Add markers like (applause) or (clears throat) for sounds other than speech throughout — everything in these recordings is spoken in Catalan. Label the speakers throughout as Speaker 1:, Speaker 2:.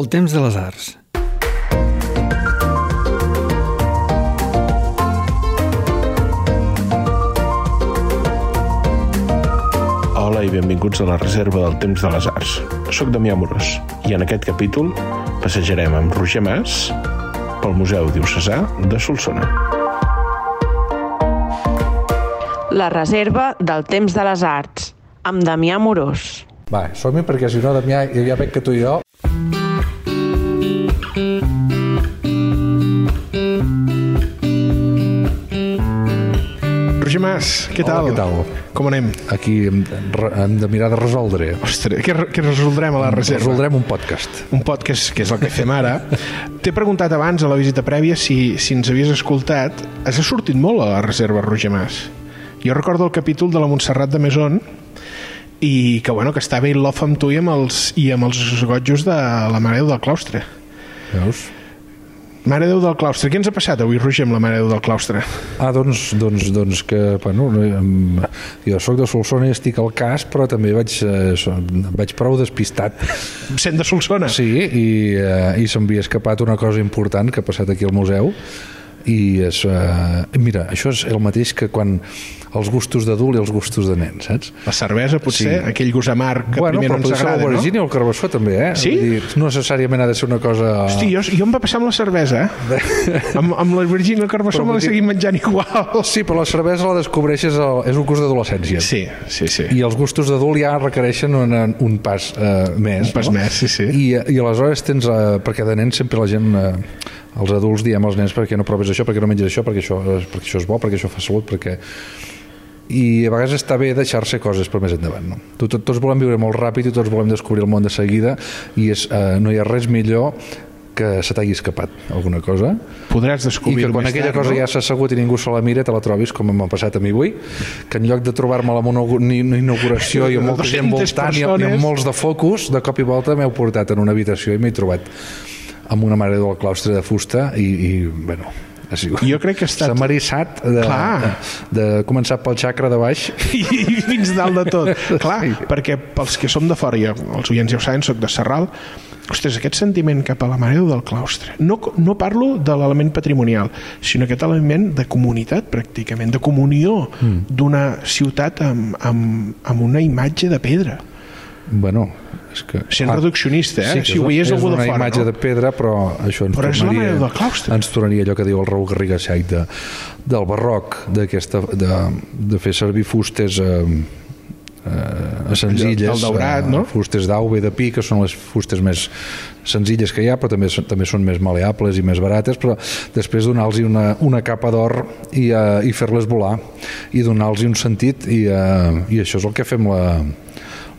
Speaker 1: El temps de les arts.
Speaker 2: Hola i benvinguts a la Reserva del Temps de les Arts. Soc Damià Morós i en aquest capítol passejarem amb Roger Mas pel Museu Diocesà de Solsona.
Speaker 3: La reserva del temps de les arts, amb Damià Morós.
Speaker 4: Va, som-hi, perquè si no, Damià, jo ja veig que tu i jo...
Speaker 2: Roger Mas, què
Speaker 4: Hola,
Speaker 2: tal?
Speaker 4: què tal?
Speaker 2: Com anem?
Speaker 4: Aquí hem, re- hem de mirar de resoldre.
Speaker 2: Ostres, què, què resoldrem a la reserva?
Speaker 4: Resoldrem un podcast.
Speaker 2: un pot que és, que és el que fem ara. T'he preguntat abans a la visita prèvia si, si ens havies escoltat. Has sortit molt a la reserva, Roger Mas. Jo recordo el capítol de la Montserrat de Maison i que, bueno, que estava in love amb tu i amb els, i amb els gotjos de la Mare Déu del Claustre.
Speaker 4: Veus?
Speaker 2: Mare Déu del Claustre. Què ens ha passat avui, Roger, amb la Mare Déu del Claustre?
Speaker 4: Ah, doncs, doncs, doncs que, bueno, no, em- jo sóc de Solsona i estic al cas, però també vaig, eh, so- vaig prou
Speaker 2: (laughs)
Speaker 4: despistat.
Speaker 2: Sent de Solsona.
Speaker 4: Sí, i, eh, i se m'havia escapat una cosa important que ha passat aquí al museu, i és, eh, mira, això és el mateix que quan els gustos d'adult i els gustos de nen, saps?
Speaker 2: La cervesa, potser,
Speaker 4: Sí.
Speaker 2: sí. aquell gust amarg que primer no ens
Speaker 4: podria ser
Speaker 2: agrada, no?
Speaker 4: l'aubergina o el carbassó també, eh?
Speaker 2: Sí?
Speaker 4: Vull dir, no necessàriament ha de ser una cosa...
Speaker 2: Hosti, jo, jo em va passar amb la cervesa, eh? amb, amb la Virginia Carbassó
Speaker 4: Però
Speaker 2: me
Speaker 4: vull
Speaker 2: la
Speaker 4: dir-
Speaker 2: seguim menjant igual.
Speaker 4: Sí, però la cervesa la descobreixes, al... és un curs d'adolescència.
Speaker 2: Sí, sí, sí.
Speaker 4: I els gustos d'adult ja requereixen un, un pas eh, més.
Speaker 2: Un pas
Speaker 4: no?
Speaker 2: més, sí, sí.
Speaker 4: I, I aleshores tens... Eh, perquè de nens sempre la gent... Eh, els adults diem als nens perquè no proves això, perquè no menges això, perquè això, eh, perquè això és bo, perquè això fa salut, perquè... I a vegades està bé deixar-se coses per més endavant. No? Tot- tot- Tots volem viure molt ràpid i tots volem descobrir el món de seguida i és, eh, no hi ha res millor que se t'hagi escapat alguna cosa
Speaker 2: Podràs
Speaker 4: i
Speaker 2: descobrir
Speaker 4: que quan aquella cosa ja s'ha assegut i ningú se la mira te la trobis com m'ha passat a mi avui que en lloc de trobar-me la una una inauguració
Speaker 2: (laughs)
Speaker 4: i amb molta gent
Speaker 2: 200
Speaker 4: voltant i amb, i
Speaker 2: persones.
Speaker 4: amb molts de focus de cop i volta m'heu portat en una habitació i m'he trobat amb una mare del claustre de fusta i, i bueno ha sigut-
Speaker 2: Jo crec que ha estat-
Speaker 4: s'ha marissat de, de,
Speaker 2: Clar.
Speaker 4: començar pel xacra de baix
Speaker 2: I, (laughs) i fins dalt de
Speaker 4: (laughs)
Speaker 2: tot. Clar, perquè pels que som de fora, jo, els oients ja ho saben, soc de Serral, ostres, aquest sentiment cap a la Mare Déu del claustre. No, no parlo de l'element patrimonial, sinó aquest element de comunitat, pràcticament, de comunió mm. d'una ciutat amb, amb, amb una imatge de pedra.
Speaker 4: bueno, és que Ah.
Speaker 2: Sent
Speaker 4: clar,
Speaker 2: reduccionista, eh?
Speaker 4: Sí,
Speaker 2: si ho veiés
Speaker 4: és
Speaker 2: algú de
Speaker 4: una
Speaker 2: fora,
Speaker 4: imatge
Speaker 2: no?
Speaker 4: de pedra, però això ens
Speaker 2: Però és la
Speaker 4: tornaria,
Speaker 2: manera del claustre.
Speaker 4: ens tornaria allò que diu el Raül Garriga Xaic de, del barroc, d'aquesta de, de fer servir fustes eh, eh, senzilles eh,
Speaker 2: Del daurat, no?
Speaker 4: fustes d'au i de pi, que són les fustes més senzilles que hi ha, però també, són- també són més maleables i més barates, però després donar-los una, una capa d'or i, eh, i fer-les volar i donar-los un sentit i, eh, i això és el que fem la,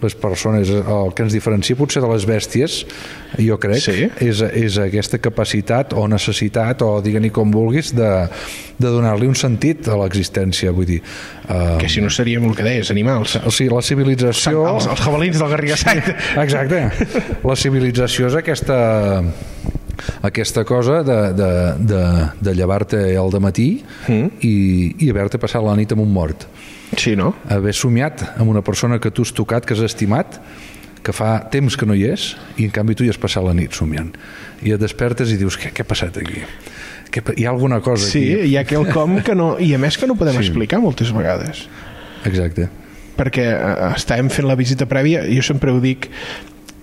Speaker 4: les persones, el que ens diferencia potser de les bèsties, jo crec,
Speaker 2: Sí.
Speaker 4: és, és aquesta capacitat o necessitat, o digue-n'hi com vulguis, de, de donar-li un sentit a l'existència, vull dir. Eh,
Speaker 2: Que si no seríem el que deies, animals.
Speaker 4: o sigui, la civilització...
Speaker 2: Els, els javelins del Garrigassaire.
Speaker 4: Exacte. La civilització és aquesta aquesta cosa de, de, de, de llevar-te al matí mm. i, i haver-te passat la nit amb un mort
Speaker 2: (laughs) Sí, no?
Speaker 4: haver somiat amb una persona que tu has tocat, que has estimat, que fa temps que no hi és, i en canvi tu hi has passat la nit somiant. I et despertes i dius, què, què ha passat aquí? Què, pa- hi ha alguna cosa
Speaker 2: Sí,
Speaker 4: aquí?
Speaker 2: hi ha quelcom que no... I a més que no podem sí. explicar moltes vegades.
Speaker 4: Exacte.
Speaker 2: perquè eh, estàvem fent la visita prèvia i jo sempre ho dic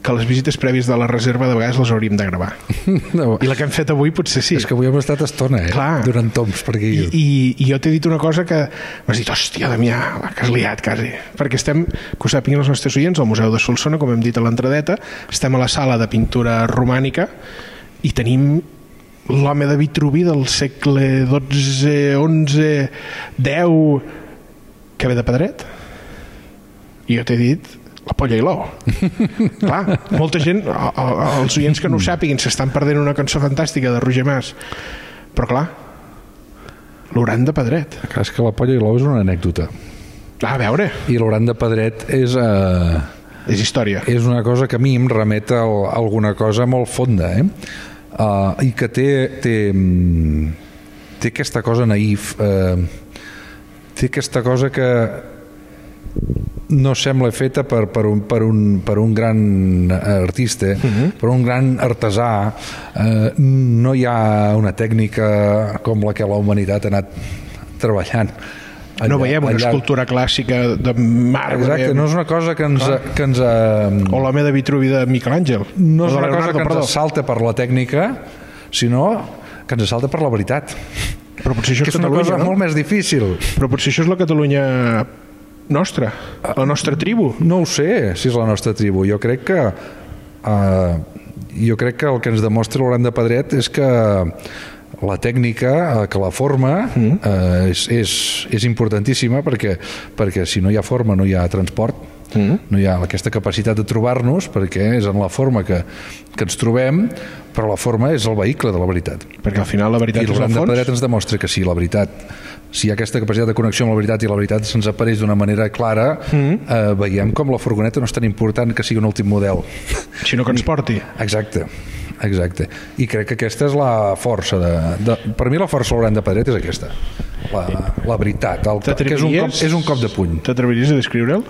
Speaker 2: que les visites prèvies de la reserva de vegades les hauríem de gravar
Speaker 4: No,
Speaker 2: i la que hem fet avui potser sí
Speaker 4: és que avui hem estat estona, eh?
Speaker 2: Clar.
Speaker 4: Durant toms per aquí.
Speaker 2: i, i, i jo t'he dit una cosa que m'has dit, hòstia Damià, la que has liat quasi perquè estem, que ho sàpiguen els nostres oients al Museu de Solsona, com hem dit a l'entradeta estem a la sala de pintura romànica i tenim l'home de Vitruvi del segle XII, XI, X que ve de Pedret i jo t'he dit la polla i l'ou. Clar, molta gent, a- a- els oients que no ho sàpiguin, s'estan perdent una cançó fantàstica de Roger Mas. Però clar, l'hauran de pedret.
Speaker 4: Clar, és que la polla i l'ou és una anècdota.
Speaker 2: Ah, a veure,
Speaker 4: I l'Oran de Pedret és, eh,
Speaker 2: és història.
Speaker 4: és una cosa que a mi em remet a al- alguna cosa molt fonda, eh? Uh, I que té, té, mm, té eh, aquesta cosa naïf, uh, té aquesta cosa que no sembla feta per, per, un, per, un, per un gran artista, uh
Speaker 2: Mhm.
Speaker 4: -huh. per un gran artesà. Eh, no hi ha una tècnica com la que la humanitat ha anat treballant.
Speaker 2: Allà, no veiem una allà... escultura clàssica de marbre.
Speaker 4: Exacte, no és una cosa que ens... Clar. Que ens eh,
Speaker 2: o l'home de Vitruvi de Miquel Àngel.
Speaker 4: No és
Speaker 2: o de
Speaker 4: una cosa
Speaker 2: Leonardo,
Speaker 4: que ens
Speaker 2: perdó.
Speaker 4: assalta per la tècnica, sinó que ens assalta per la veritat.
Speaker 2: Però potser això
Speaker 4: Que és una
Speaker 2: Catalunya,
Speaker 4: cosa
Speaker 2: no?
Speaker 4: molt més difícil.
Speaker 2: Però potser això és la Catalunya nostra, la nostra tribu.
Speaker 4: No ho sé, si és la nostra tribu. Jo crec que... Eh, jo crec que el que ens demostra l'Oran de Pedret és que la tècnica, eh, que la forma eh, és, és, és importantíssima perquè, perquè si no hi ha forma no hi ha transport, no hi ha aquesta capacitat de trobar-nos perquè és en la forma que, que ens trobem però la forma és el vehicle de la veritat.
Speaker 2: Perquè al final la veritat
Speaker 4: I
Speaker 2: és la
Speaker 4: l'Orlando
Speaker 2: fons.
Speaker 4: Pedret ens demostra que sí, la veritat, si hi ha aquesta capacitat de connexió amb la veritat i la veritat se'ns apareix d'una manera clara, mm. eh, veiem com la furgoneta no és tan important que sigui un últim model.
Speaker 2: Si no que ens porti.
Speaker 4: Exacte, exacte. I crec que aquesta és la força de... de per mi la força de l'Orlando Pedret és aquesta. La, la veritat, el, que és un, cop, és un cop de puny.
Speaker 2: T'atreviries a descriure'l?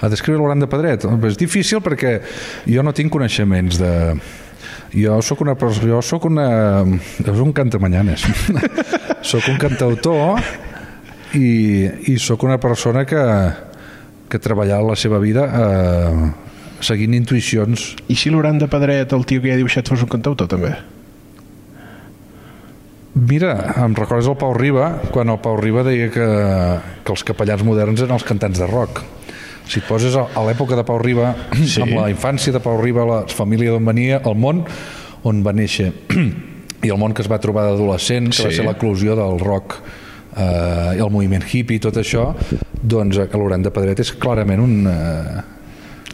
Speaker 4: A descriure l'Orlando Pedret? Home, És difícil perquè jo no tinc coneixements de... Jo sóc una... pers- Jo sóc una... Jo sóc un cantamanyanes. (laughs) sóc un cantautor i, i sóc una persona que, que treballar la seva vida eh, seguint intuïcions.
Speaker 2: I si l'Oran de Pedret, el tio que ja ha dibuixat, fos un cantautor, també?
Speaker 4: Mira, em recordes el Pau Riba, quan el Pau Riba deia que, que els capellans moderns eren els cantants de rock. Si et poses a, a l'època de Pau Riba,
Speaker 2: Sí.
Speaker 4: sí. amb la infància de Pau Riba, la família d'on venia, el món on va néixer (clears throat) i el món que es va trobar d'adolescent, que sí. va
Speaker 2: Sí.
Speaker 4: ser l'eclusió del rock eh, i el moviment hippie i tot això, doncs eh, l'Oran de Pedret és clarament un... Eh,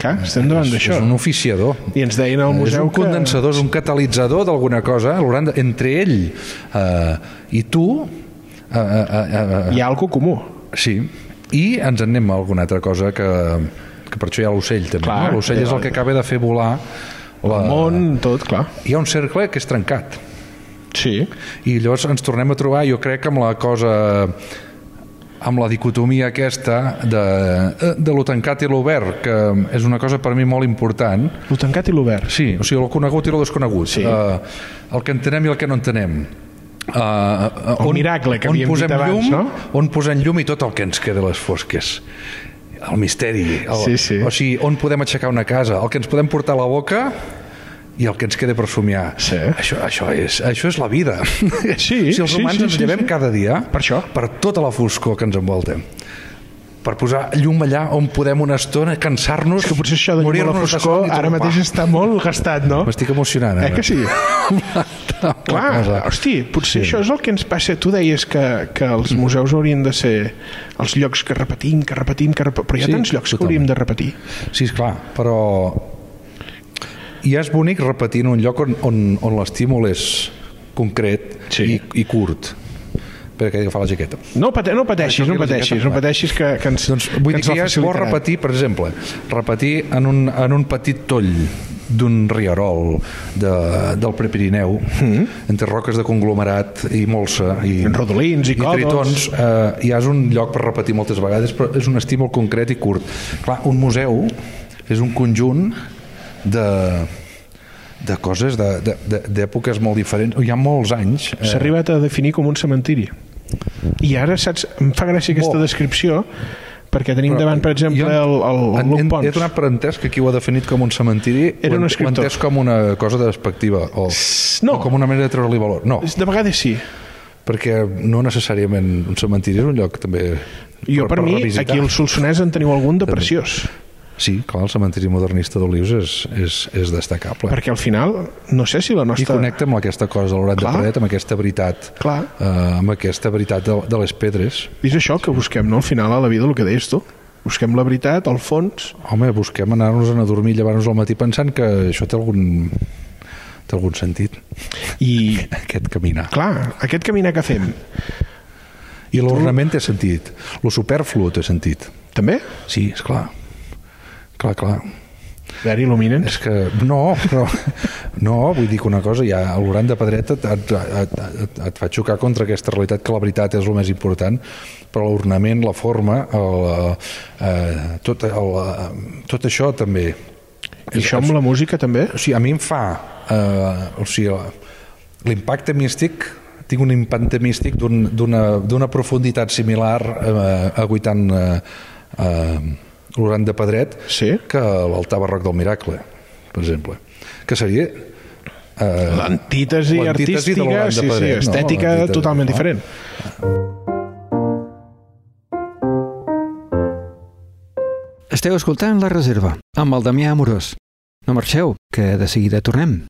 Speaker 2: Clar, estem davant
Speaker 4: és
Speaker 2: d'això.
Speaker 4: un oficiador.
Speaker 2: I ens deien al
Speaker 4: És
Speaker 2: museu
Speaker 4: un condensador, és un catalitzador d'alguna cosa, l'Oranda, entre ell eh, i tu, eh, eh, eh,
Speaker 2: que hi ha alguna comú.
Speaker 4: eh, sí, i ens en anem a alguna altra cosa que, que per això hi ha l'ocell també.
Speaker 2: Clar, eh,
Speaker 4: no? L'ocell és el que acaba de fer volar la...
Speaker 2: El món, tot, clar.
Speaker 4: Hi ha un cercle que és trencat
Speaker 2: Sí.
Speaker 4: i llavors ens tornem a trobar, jo crec, amb la cosa amb la dicotomia aquesta de, eh, de lo tancat i l'obert, que és una cosa per mi molt important,
Speaker 2: Lo tancat i l'obert.
Speaker 4: Sí, o sigui, el conegut i el desconegut.
Speaker 2: Sí.
Speaker 4: Uh, el que entenem i el que no entenem. Uh, uh,
Speaker 2: El miracle que havíem dit
Speaker 4: posem
Speaker 2: abans,
Speaker 4: llum,
Speaker 2: no?
Speaker 4: On posem llum i tot el que ens queda a les fosques. El misteri. El,
Speaker 2: Sí, sí.
Speaker 4: O sigui, on podem aixecar una casa, el que ens podem portar a la boca i el que ens queda per somiar.
Speaker 2: Sí.
Speaker 4: Això, això, és, això és la vida.
Speaker 2: (laughs) Sí,
Speaker 4: si els
Speaker 2: sí,
Speaker 4: humans
Speaker 2: sí,
Speaker 4: ens
Speaker 2: sí,
Speaker 4: llevem
Speaker 2: sí.
Speaker 4: cada dia
Speaker 2: Per això.
Speaker 4: per tota la foscor que ens envolta per posar llum allà on podem una estona, cansar-nos,
Speaker 2: Que potser això de llum a la
Speaker 4: morir-nos de
Speaker 2: foscor
Speaker 4: son i
Speaker 2: ara
Speaker 4: trompar.
Speaker 2: mateix està molt gastat, no?
Speaker 4: M'estic emocionant.
Speaker 2: Eh
Speaker 4: ara.
Speaker 2: que sí? Clar,
Speaker 4: cosa.
Speaker 2: hosti, potser sí. això és el que ens passa. Tu deies que, que els
Speaker 4: Mm.
Speaker 2: museus haurien de ser els llocs que repetim, que repetim, que repetim, però hi ha
Speaker 4: Sí,
Speaker 2: sí, tants llocs que
Speaker 4: totalment.
Speaker 2: hauríem de repetir.
Speaker 4: Sí, és clar, però ja és bonic repetir en un lloc on, on, on l'estímul és concret
Speaker 2: Sí.
Speaker 4: i, i curt. Espera que he d'agafar la jaqueta.
Speaker 2: No, pate, no pateixis,
Speaker 4: Això
Speaker 2: no
Speaker 4: que la
Speaker 2: pateixis,
Speaker 4: jaqueta-
Speaker 2: no pateixis que, que ens,
Speaker 4: Doncs vull
Speaker 2: que
Speaker 4: dir
Speaker 2: ens
Speaker 4: que ja és bo repetir, per exemple, repetir en un, en un petit toll d'un rierol de, del Prepirineu, entre roques de conglomerat i molsa Hmm. i,
Speaker 2: En rodolins i còdols.
Speaker 4: tritons, eh, ja és un lloc per repetir moltes vegades, però és un estímul concret i curt. Clar, un museu és un conjunt de de coses, de- de- de- d'èpoques molt diferents. Hi ha molts anys. eh,
Speaker 2: S'ha arribat a definir com un cementiri. I ara, saps, em fa gràcia aquesta
Speaker 4: Bo.
Speaker 2: descripció, perquè tenim
Speaker 4: Però
Speaker 2: davant, per exemple,
Speaker 4: jo-
Speaker 2: el, el, el
Speaker 4: en-
Speaker 2: Luc
Speaker 4: en- He
Speaker 2: Pons.
Speaker 4: donat per entès que qui ho ha definit com un cementiri
Speaker 2: Era
Speaker 4: ho
Speaker 2: un
Speaker 4: he-
Speaker 2: escriptor.
Speaker 4: Ho he entès com una cosa despectiva o,
Speaker 2: no.
Speaker 4: o com una manera de treure-li valor. No,
Speaker 2: De vegades sí.
Speaker 4: perquè no necessàriament un cementiri és un lloc també
Speaker 2: Jo, per, per mi,
Speaker 4: revisitar.
Speaker 2: aquí al Solsonès en teniu algun de preciós.
Speaker 4: Sí, clar, el cementiri modernista d'Olius és, és, és destacable.
Speaker 2: Perquè al final, no sé si la
Speaker 4: I
Speaker 2: nostra...
Speaker 4: connecta amb aquesta cosa de l'orat de
Speaker 2: Clar.
Speaker 4: Paret, amb aquesta veritat,
Speaker 2: Clar.
Speaker 4: eh, amb aquesta veritat de, de les pedres.
Speaker 2: És això que busquem, no? Al final, a la vida, el que deies tu. Busquem la veritat, el fons...
Speaker 4: Home, busquem anar-nos a dormir i llevar-nos al matí pensant que això té algun, té algun sentit,
Speaker 2: I,
Speaker 4: aquest caminar.
Speaker 2: clar, aquest caminar que fem,
Speaker 4: I l'ornament té sentit, lo superflu té sentit.
Speaker 2: també?
Speaker 4: Sí, és clar. Clar, clar.
Speaker 2: Very il·lumina'ns.
Speaker 4: És que no, però No, vull dir que una cosa, ja el gran de pedreta et, et, et, et, et fa xocar contra aquesta realitat, que la veritat és el més important, però l'ornament, la forma, el, eh, tot, el, eh, tot això també.
Speaker 2: I això amb la música també?
Speaker 4: O sigui, a mi em fa... Eh, o sigui, l'impacte místic tinc un impacte místic d'un- d'una d'una profunditat similar eh, a 80 eh, eh, l'Uran de Pedret
Speaker 2: Sí.
Speaker 4: que l'altar barroc del Miracle, per exemple, que seria eh,
Speaker 2: L'antítesi
Speaker 4: L'antítesi de
Speaker 2: artística,
Speaker 4: l'Holanda
Speaker 2: sí, sí,
Speaker 4: Pedret, no?
Speaker 2: estètica
Speaker 4: L'antítesi,
Speaker 2: totalment
Speaker 4: no?
Speaker 2: diferent.
Speaker 1: Esteu escoltant La Reserva, amb el Damià Amorós. No marxeu, que de seguida tornem.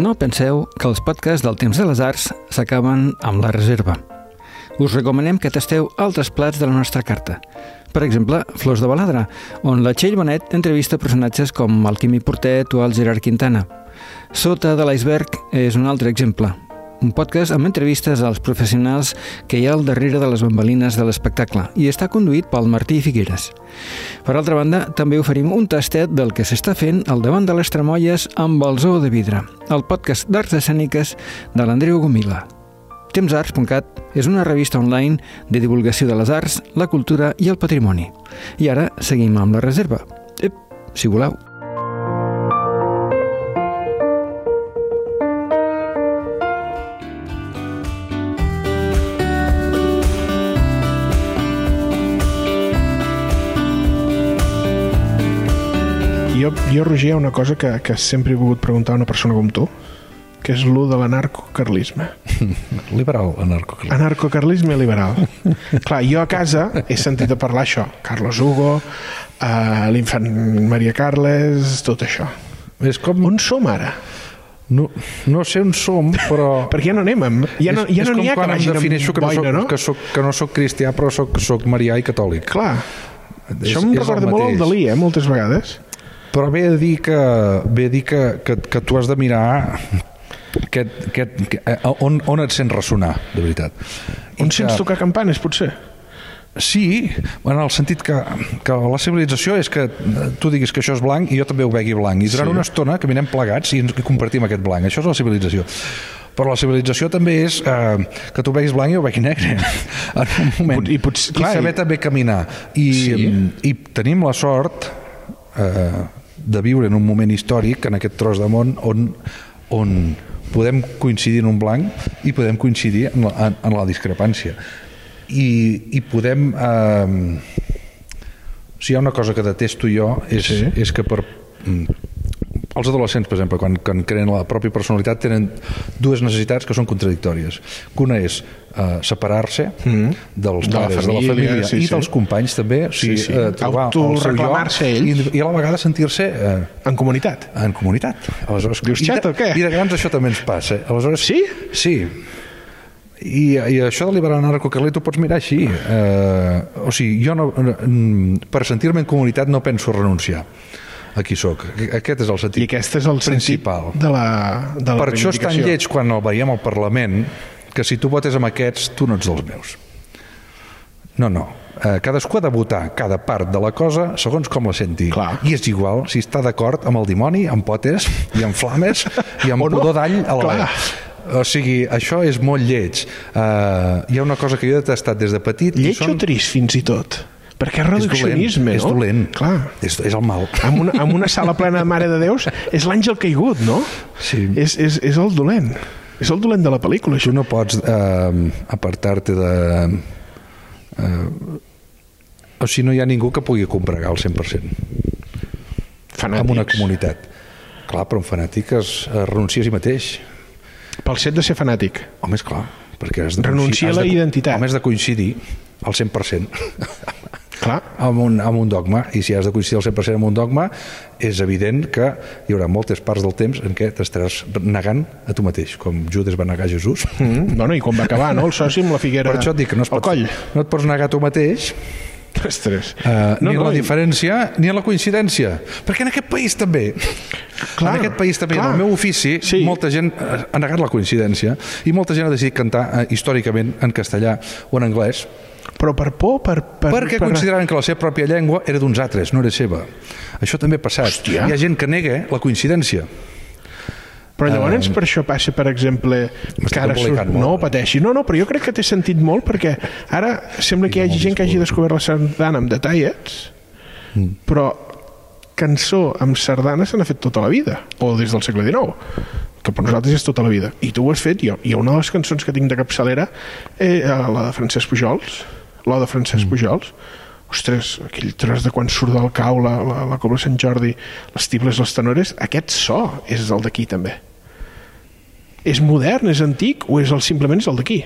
Speaker 1: No penseu que els podcasts del Temps de les Arts s'acaben amb La Reserva. Us recomanem que tasteu altres plats de la nostra carta. Per exemple, Flors de Baladra, on la Txell Bonet entrevista personatges com el Quimi Portet o el Gerard Quintana. Sota de l'iceberg és un altre exemple. Un podcast amb entrevistes als professionals que hi ha al darrere de les bambalines de l'espectacle i està conduït pel Martí Figueres. Per altra banda, també oferim un tastet del que s'està fent al davant de les tramolles amb el zoo de vidre, el podcast d'arts escèniques de l'Andreu Gomila. Tempsarts.cat és una revista online de divulgació de les arts, la cultura i el patrimoni. I ara seguim amb la reserva. Ep, si voleu.
Speaker 2: Jo, jo Roger, hi ha una cosa que, que sempre he volgut preguntar a una persona com tu, que és lo de l'anarcocarlisme.
Speaker 4: liberal anarco
Speaker 2: Anarcocarlisme liberal. Clar, jo a casa he sentit a parlar això. Carlos Hugo, eh, l'infant Maria Carles, tot això. Ah.
Speaker 4: és com,
Speaker 2: On som ara?
Speaker 4: no, no sé on som però
Speaker 2: (laughs) Perquè ja no anem amb... Ja no
Speaker 4: és,
Speaker 2: ja
Speaker 4: és
Speaker 2: no
Speaker 4: com
Speaker 2: n'hi ha que
Speaker 4: quan em
Speaker 2: vagin amb
Speaker 4: defineixo que no,
Speaker 2: boina,
Speaker 4: soc,
Speaker 2: no?
Speaker 4: que, soc, que no soc cristià però soc, soc marià i catòlic
Speaker 2: Clar,
Speaker 4: és,
Speaker 2: això em
Speaker 4: és el
Speaker 2: recorda molt el
Speaker 4: mateix.
Speaker 2: Dalí, eh, moltes vegades.
Speaker 4: Però ve a dir que, ve a dir que, que, que tu has de mirar que, que, que, eh, on, on et sents ressonar, de veritat. I
Speaker 2: On
Speaker 4: que-
Speaker 2: sents tocar campanes, potser?
Speaker 4: Sí, en el sentit que, que la civilització és que eh, tu diguis que això és blanc i jo també ho vegui blanc. I durant sí. una estona caminem plegats i ens i compartim aquest blanc. Això és la civilització. Però la civilització també és eh, que tu veguis blanc i jo vegui negre (laughs) en un moment.
Speaker 2: Pot- i potser-
Speaker 4: I
Speaker 2: clar,
Speaker 4: saber
Speaker 2: i-
Speaker 4: també caminar. I, sí. i tenim la sort eh, de viure en un moment històric en aquest tros de món on, on podem coincidir en un blanc i podem coincidir en la, en, en la discrepància i, i podem eh, si hi ha una cosa que detesto jo és, sí. és que per mm, els adolescents, per exemple, quan, quan creen la pròpia personalitat, tenen dues necessitats que són contradictòries. Que una és eh, separar-se mm. dels
Speaker 2: De la
Speaker 4: pares, de
Speaker 2: família,
Speaker 4: la família
Speaker 2: sí,
Speaker 4: i
Speaker 2: sí.
Speaker 4: dels companys també, o sigui,
Speaker 2: Sí, sí.
Speaker 4: Eh, trobar el seu lloc
Speaker 2: Autoreclamar-se ells.
Speaker 4: i, i a la vegada sentir-se eh,
Speaker 2: En comunitat?
Speaker 4: en comunitat. Aleshores,
Speaker 2: Dius,
Speaker 4: i de-
Speaker 2: xat, o què?
Speaker 4: I de grans això també ens passa. Aleshores,
Speaker 2: Sí?
Speaker 4: Sí. I, i això de liberar anarcocarlet ho pots mirar així. Eh, o sigui, jo no, mm, per sentir-me en comunitat no penso renunciar a qui sóc. Aquest és el sentit
Speaker 2: I aquest és el
Speaker 4: principal.
Speaker 2: sentit de la, de la
Speaker 4: Per això és tan
Speaker 2: reivindicació.
Speaker 4: lleig quan el veiem al Parlament que si tu votes amb aquests, tu no ets dels meus. No, no. Eh, cadascú ha de votar cada part de la cosa segons com la senti.
Speaker 2: Clar.
Speaker 4: I és igual si està d'acord amb el dimoni, amb potes, i amb flames, i amb
Speaker 2: (laughs) O no.
Speaker 4: pudor d'all a la
Speaker 2: Clar.
Speaker 4: vegada. O sigui, això és molt lleig. Eh, hi ha una cosa que jo he detestat des de petit. i
Speaker 2: Lleig
Speaker 4: són-
Speaker 2: o trist, fins i tot? Perquè és
Speaker 4: És dolent.
Speaker 2: reduccionisme,
Speaker 4: És
Speaker 2: no?
Speaker 4: dolent.
Speaker 2: Clar.
Speaker 4: És, és el mal.
Speaker 2: Amb una, amb una sala plena de Mare de Déus és l'àngel caigut, no?
Speaker 4: Sí.
Speaker 2: És, és, és el dolent. És el dolent de la pel·lícula,
Speaker 4: tu
Speaker 2: això.
Speaker 4: no pots eh, apartar-te de... Eh, o sigui, no hi ha ningú que pugui compregar al 100%
Speaker 2: Fanàtics.
Speaker 4: amb una comunitat. Clar, però un fanàtic es, es renuncia a si mateix.
Speaker 2: Pel set de ser fanàtic.
Speaker 4: Home, és clar, perquè has de...
Speaker 2: Renuncia a la
Speaker 4: has de-
Speaker 2: identitat.
Speaker 4: Home, has de coincidir al 100%
Speaker 2: Clar.
Speaker 4: (laughs) amb un, amb un dogma. I si has de coincidir al 100% amb un dogma, és evident que hi haurà moltes parts del temps en què t'estaràs negant a tu mateix, com Judes va negar a Jesús.
Speaker 2: Mm, bueno, i quan va acabar, no? El soci amb la figuera...
Speaker 4: Per això et dic que no es
Speaker 2: al
Speaker 4: pot,
Speaker 2: coll. (laughs)
Speaker 4: no et pots negar a tu mateix
Speaker 2: Ostres.
Speaker 4: Uh, no,
Speaker 2: No,
Speaker 4: ni
Speaker 2: no,
Speaker 4: no, la
Speaker 2: i-
Speaker 4: diferència ni la coincidència perquè en aquest país també clar,
Speaker 2: Clar,
Speaker 4: en aquest país també, clar.
Speaker 2: clar.
Speaker 4: en el meu ofici sí.
Speaker 2: Sí.
Speaker 4: molta gent eh, ha negat la coincidència i molta gent ha decidit cantar eh, històricament en castellà o en anglès
Speaker 2: Però per por, per... per
Speaker 4: perquè
Speaker 2: per...
Speaker 4: consideraven que la seva pròpia llengua era d'uns altres, no era seva. Això també ha passat.
Speaker 2: Hòstia.
Speaker 4: Hi ha gent que nega la coincidència.
Speaker 2: Però llavors per això passa, per exemple, que ara surt...
Speaker 4: embolicant molt.
Speaker 2: No, pateixi. No, no, però jo crec que té sentit molt perquè ara sembla que hi hagi gent que hagi descobert la sardana amb detallets, però cançó amb sardana se n'ha fet tota la vida, o des del segle XIX, que per nosaltres és tota la vida. I tu ho has fet, jo. Hi ha una de les cançons que tinc de capçalera, eh, la de Francesc Pujols, la de Francesc Pujols, ostres, aquell tros de quan surt del cau la, la, la cobla Sant Jordi, les tibles, les tenores, aquest so és el d'aquí també. És modern, és antic o és el, simplement és el d'aquí?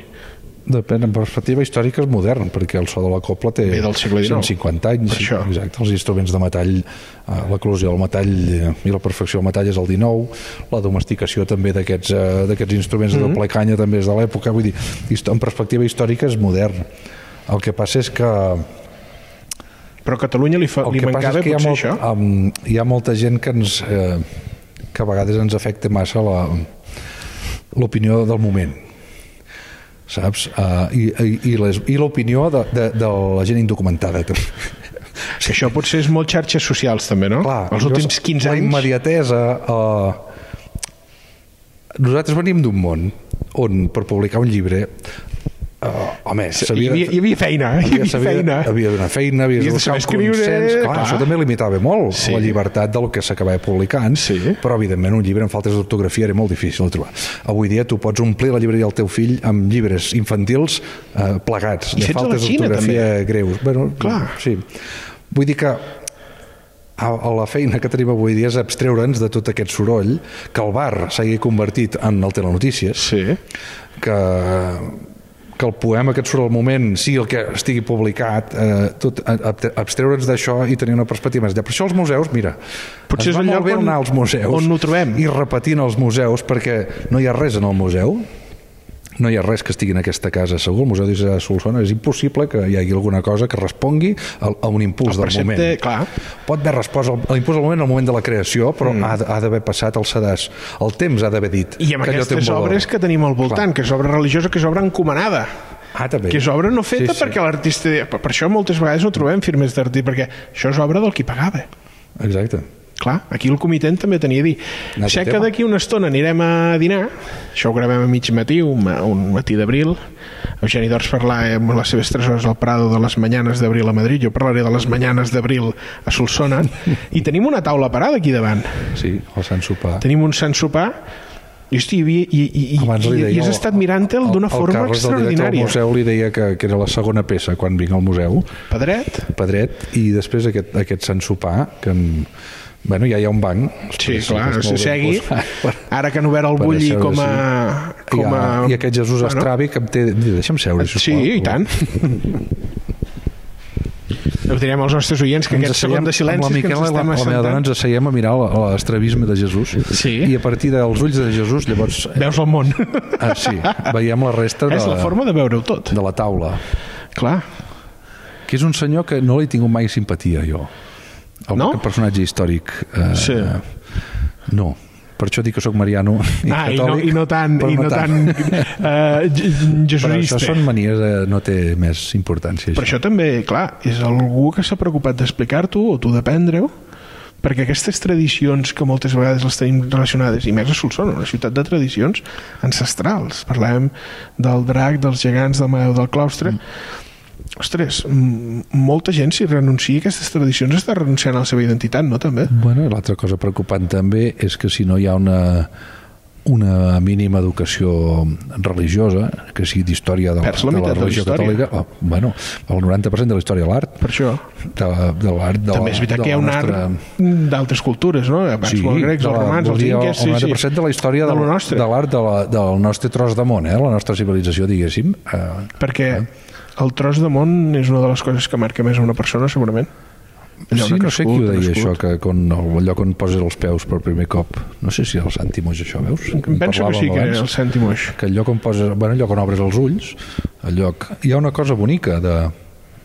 Speaker 4: Depèn, en perspectiva històrica és modern, perquè el so de la copla té
Speaker 2: Ve del segle XIX.
Speaker 4: 150 anys.
Speaker 2: Per això.
Speaker 4: Exacte, els instruments de metall, eh, l'eclusió del metall eh, i la perfecció del metall és el XIX, la domesticació també d'aquests eh, d'aquests instruments mm -hmm.
Speaker 2: Mm-hmm.
Speaker 4: de doble canya també és de l'època, vull dir, hist- en perspectiva històrica és modern. El que passa és que
Speaker 2: Però a Catalunya li, fa,
Speaker 4: el
Speaker 2: li
Speaker 4: que passa
Speaker 2: mancava
Speaker 4: és que hi ha,
Speaker 2: potser
Speaker 4: molt,
Speaker 2: això.
Speaker 4: um, hi ha molta gent que ens eh, que a vegades ens afecta massa la l'opinió del moment saps? Uh, i, i, i les- i l'opinió de, de, de la gent indocumentada també. (laughs)
Speaker 2: Que això potser és molt xarxes socials també, no? Els últims 15
Speaker 4: la
Speaker 2: anys...
Speaker 4: immediatesa uh, nosaltres venim d'un món on per publicar un llibre uh, home,
Speaker 2: Hi
Speaker 4: s'havia de
Speaker 2: havia, hi havia feina, eh? hi
Speaker 4: havia,
Speaker 2: havia
Speaker 4: s'havia-
Speaker 2: feina.
Speaker 4: havia d'anar a feina, havia de
Speaker 2: Havies de
Speaker 4: buscar un
Speaker 2: saber escriure,
Speaker 4: consens. Clar,
Speaker 2: clar.
Speaker 4: això també limitava molt
Speaker 2: Sí.
Speaker 4: la llibertat del que s'acabava publicant,
Speaker 2: Sí.
Speaker 4: però evidentment un llibre amb faltes d'ortografia era molt difícil de trobar. Avui dia tu pots omplir la llibreria del teu fill amb llibres infantils eh, plegats, de
Speaker 2: fets a la
Speaker 4: faltes
Speaker 2: Xina,
Speaker 4: d'ortografia greus. Bueno,
Speaker 2: Clar.
Speaker 4: Sí. Vull dir que a, a la feina que tenim avui dia és abstreure'ns de tot aquest soroll, que el bar s'hagi convertit en el Telenotícies,
Speaker 2: Sí.
Speaker 4: que, que el poema que et surt al moment sigui el que estigui publicat, eh, tot a- a- abstreure'ns d'això i tenir una perspectiva més allà. Per això els museus, mira,
Speaker 2: Potser
Speaker 4: ens
Speaker 2: és
Speaker 4: va
Speaker 2: el
Speaker 4: molt
Speaker 2: lloc
Speaker 4: bé
Speaker 2: on-
Speaker 4: anar als museus
Speaker 2: on ho trobem.
Speaker 4: i repetint els museus perquè no hi ha res en el museu no hi ha res que estigui en aquesta casa segur, el Museu d'Isaac Solsona és impossible que hi hagi alguna cosa que respongui a, a un impuls del moment
Speaker 2: precepte, eh, clar.
Speaker 4: pot haver respost al- a l'impuls del moment al moment de la creació però mm. ha, d- ha d'haver passat el sedàs el temps ha d'haver dit
Speaker 2: I amb
Speaker 4: que allò té un
Speaker 2: aquestes
Speaker 4: valor.
Speaker 2: obres que tenim al voltant, que és obra religiosa, que és obra encomanada,
Speaker 4: ah, també.
Speaker 2: que és obra no feta
Speaker 4: Sí, sí.
Speaker 2: perquè l'artista... Per per això moltes vegades no trobem firmes d'artista, perquè això és obra del qui pagava.
Speaker 4: Exacte.
Speaker 2: Clar, aquí el comitent també tenia a dir
Speaker 4: Un altre
Speaker 2: sé que
Speaker 4: tema.
Speaker 2: d'aquí una estona anirem a dinar això ho gravem a mig matí un, ma- un matí d'abril Eugeni Dors parlar amb les seves 3 hores al Prado de les mañanes d'abril a Madrid jo parlaré de les mañanes d'abril a Solsona i tenim una taula parada aquí davant
Speaker 4: Sí, el Sant Sopar.
Speaker 2: tenim un sant sopar i, hosti, i, i, i, i,
Speaker 4: Abans li
Speaker 2: i,
Speaker 4: deia
Speaker 2: i has
Speaker 4: el-
Speaker 2: estat mirant-te'l d'una forma
Speaker 4: Carles, el director del
Speaker 2: extraordinària
Speaker 4: museu, li deia que, que era la segona peça quan vinc al museu,
Speaker 2: Pedret
Speaker 4: Pedret, i després aquest, aquest Sant Sopar, que... em- Bueno, ja hi ha un banc.
Speaker 2: Sí,
Speaker 4: Després, és
Speaker 2: clar,
Speaker 4: molt
Speaker 2: si
Speaker 4: ben
Speaker 2: segui,
Speaker 4: posat.
Speaker 2: ara que han obert el
Speaker 4: Per
Speaker 2: bulli
Speaker 4: això,
Speaker 2: com a...
Speaker 4: I,
Speaker 2: Com a...
Speaker 4: ha, I aquest Jesús
Speaker 2: Bueno,
Speaker 4: Estravi que em té... Mira, deixa'm seure, sisplau.
Speaker 2: Sí, i tant. Ho direm als nostres oients que
Speaker 4: Ens
Speaker 2: aquest
Speaker 4: asseiem
Speaker 2: segon de
Speaker 4: amb
Speaker 2: silenci
Speaker 4: la
Speaker 2: que ens
Speaker 4: Miquela i la,
Speaker 2: estem
Speaker 4: la meva dona
Speaker 2: assentant
Speaker 4: ens asseiem a mirar l'estravisme de Jesús
Speaker 2: Sí.
Speaker 4: i a partir dels ulls de Jesús llavors eh,
Speaker 2: veus el món.
Speaker 4: ah,
Speaker 2: (laughs)
Speaker 4: sí, veiem la resta de,
Speaker 2: És la forma de veure-ho tot.
Speaker 4: de la taula
Speaker 2: Clar.
Speaker 4: que és un senyor que no li he tingut mai simpatia jo el
Speaker 2: No?
Speaker 4: aquest personatge històric eh,
Speaker 2: Sí.
Speaker 4: no per això dic que sóc mariano i
Speaker 2: Ah, i no,
Speaker 4: catòlic,
Speaker 2: i no tant,
Speaker 4: però
Speaker 2: i no tant eh, j-
Speaker 4: però això
Speaker 2: jesuïsta.
Speaker 4: són manies de, no té més importància
Speaker 2: Però això també, clar, és algú que s'ha preocupat d'explicar-t'ho o tu d'aprendre-ho, perquè aquestes tradicions que moltes vegades les tenim relacionades, i més a Solsona, una ciutat de tradicions ancestrals. Parlem del drac, dels gegants, del Maó del claustre... Mm. Ostres, m- molta gent si renuncia a aquestes tradicions està renunciant a la seva identitat, no també?
Speaker 4: Bueno, i l'altra cosa preocupant també és que si no hi ha una una mínima educació religiosa, que sigui d'història de, la-
Speaker 2: Perds la
Speaker 4: de la
Speaker 2: meitat de la
Speaker 4: religió
Speaker 2: història.
Speaker 4: catòlica, oh, bueno, el 90% de la història de l'art,
Speaker 2: Per això.
Speaker 4: de, de l'art de
Speaker 2: També
Speaker 4: la,
Speaker 2: és veritat
Speaker 4: de
Speaker 2: que hi
Speaker 4: la
Speaker 2: ha un
Speaker 4: nostra...
Speaker 2: art d'altres cultures, no? Abans sí, els grecs,
Speaker 4: de
Speaker 2: els
Speaker 4: la-
Speaker 2: romans,
Speaker 4: vol
Speaker 2: els
Speaker 4: dir el-
Speaker 2: inques...
Speaker 4: El 90% de la història
Speaker 2: de,
Speaker 4: del-
Speaker 2: lo nostre.
Speaker 4: de l'art de la- del nostre tros de món, eh? la nostra civilització, diguéssim. Eh,
Speaker 2: Perquè el tros de món és una de les coses que marca més a una persona, segurament. Allò
Speaker 4: sí, no sé
Speaker 2: de crescut,
Speaker 4: qui ho deia,
Speaker 2: nascut.
Speaker 4: això, que con el lloc on poses els peus per primer cop. No sé si era el Santi Moix, això, veus? En
Speaker 2: Penso que
Speaker 4: parlàvem
Speaker 2: sí que
Speaker 4: abans.
Speaker 2: el cèntim això.
Speaker 4: que el lloc on poses, bueno, el lloc on obres els ulls, el lloc... Hi ha una cosa bonica de,